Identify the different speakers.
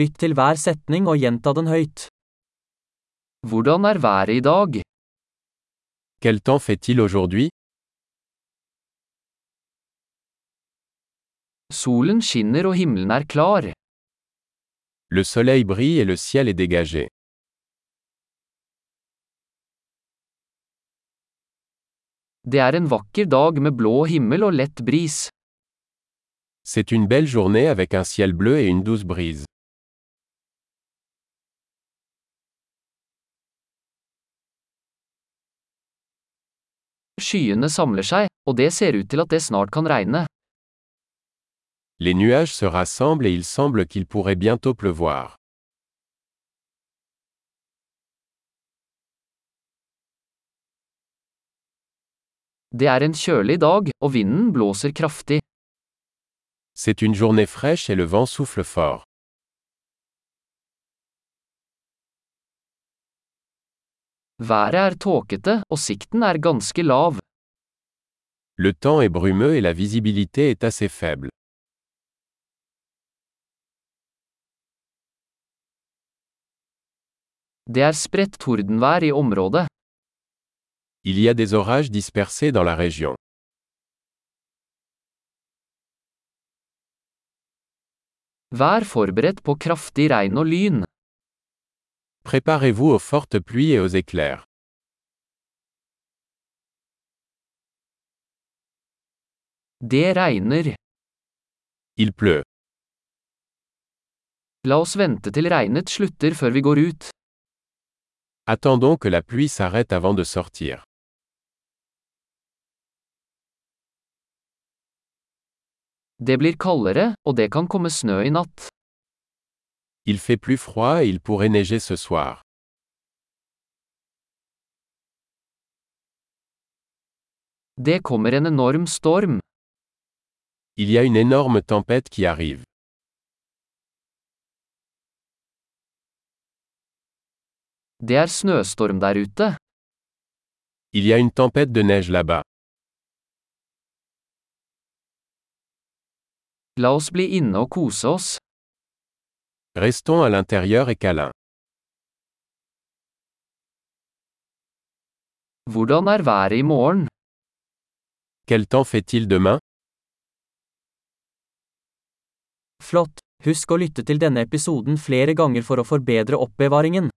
Speaker 1: Lytt til hver setning og gjenta den høyt.
Speaker 2: Hvordan er været i dag?
Speaker 3: Quel temps fait-il aujourd'hui
Speaker 2: Solen skinner og himmelen er klar.
Speaker 3: Le soleil brille et le ciel est dégagé.
Speaker 2: Det er en vakker dag med blå himmel og lett bris.
Speaker 3: C'est une belle journée avec un ciel bleu et une douce brise.
Speaker 2: Skyene samler seg, og det ser ut til at det snart kan regne.
Speaker 3: Les nuages se rassemblent et il semble qu'il pourrait bientôt pleuvoir.
Speaker 2: Det er en kjølig dag, og vinden blåser kraftig.
Speaker 3: C'est une journée fraîche et le vent souffle fort.
Speaker 2: Været er tåkete, og sikten er ganske lav.
Speaker 3: Le temps est brumeux et la visibilité est assez faible.
Speaker 2: Det er spredt tordenvær i området.
Speaker 3: Il y a des orages dispersés dans la région.
Speaker 2: Vær forberedt på kraftig regn og lyn.
Speaker 3: Préparez-vous aux fortes pluies et aux éclairs.
Speaker 2: Det regner.
Speaker 3: Il pleut.
Speaker 2: La oss vente til regnet slutter før vi går ut.
Speaker 3: Attendons que la pluie s'arrête avant de sortir.
Speaker 2: Det blir kaldere, og det kan komme snø i natt.
Speaker 3: Il fait plus froid et il pourrait neiger ce soir.
Speaker 2: Det kommer en enorm storm.
Speaker 3: Il y a une énorme tempête qui arrive.
Speaker 2: Det er snøstorm der ute.
Speaker 3: Il y a une tempête de neige là-bas.
Speaker 2: La oss bli inne og kose oss.
Speaker 3: Restons à l'intérieur et câlin.
Speaker 2: Hvordan er været i morgen?
Speaker 3: Quel temps fait-il demain
Speaker 1: Flott! Husk å lytte til denne episoden flere ganger for å forbedre oppbevaringen.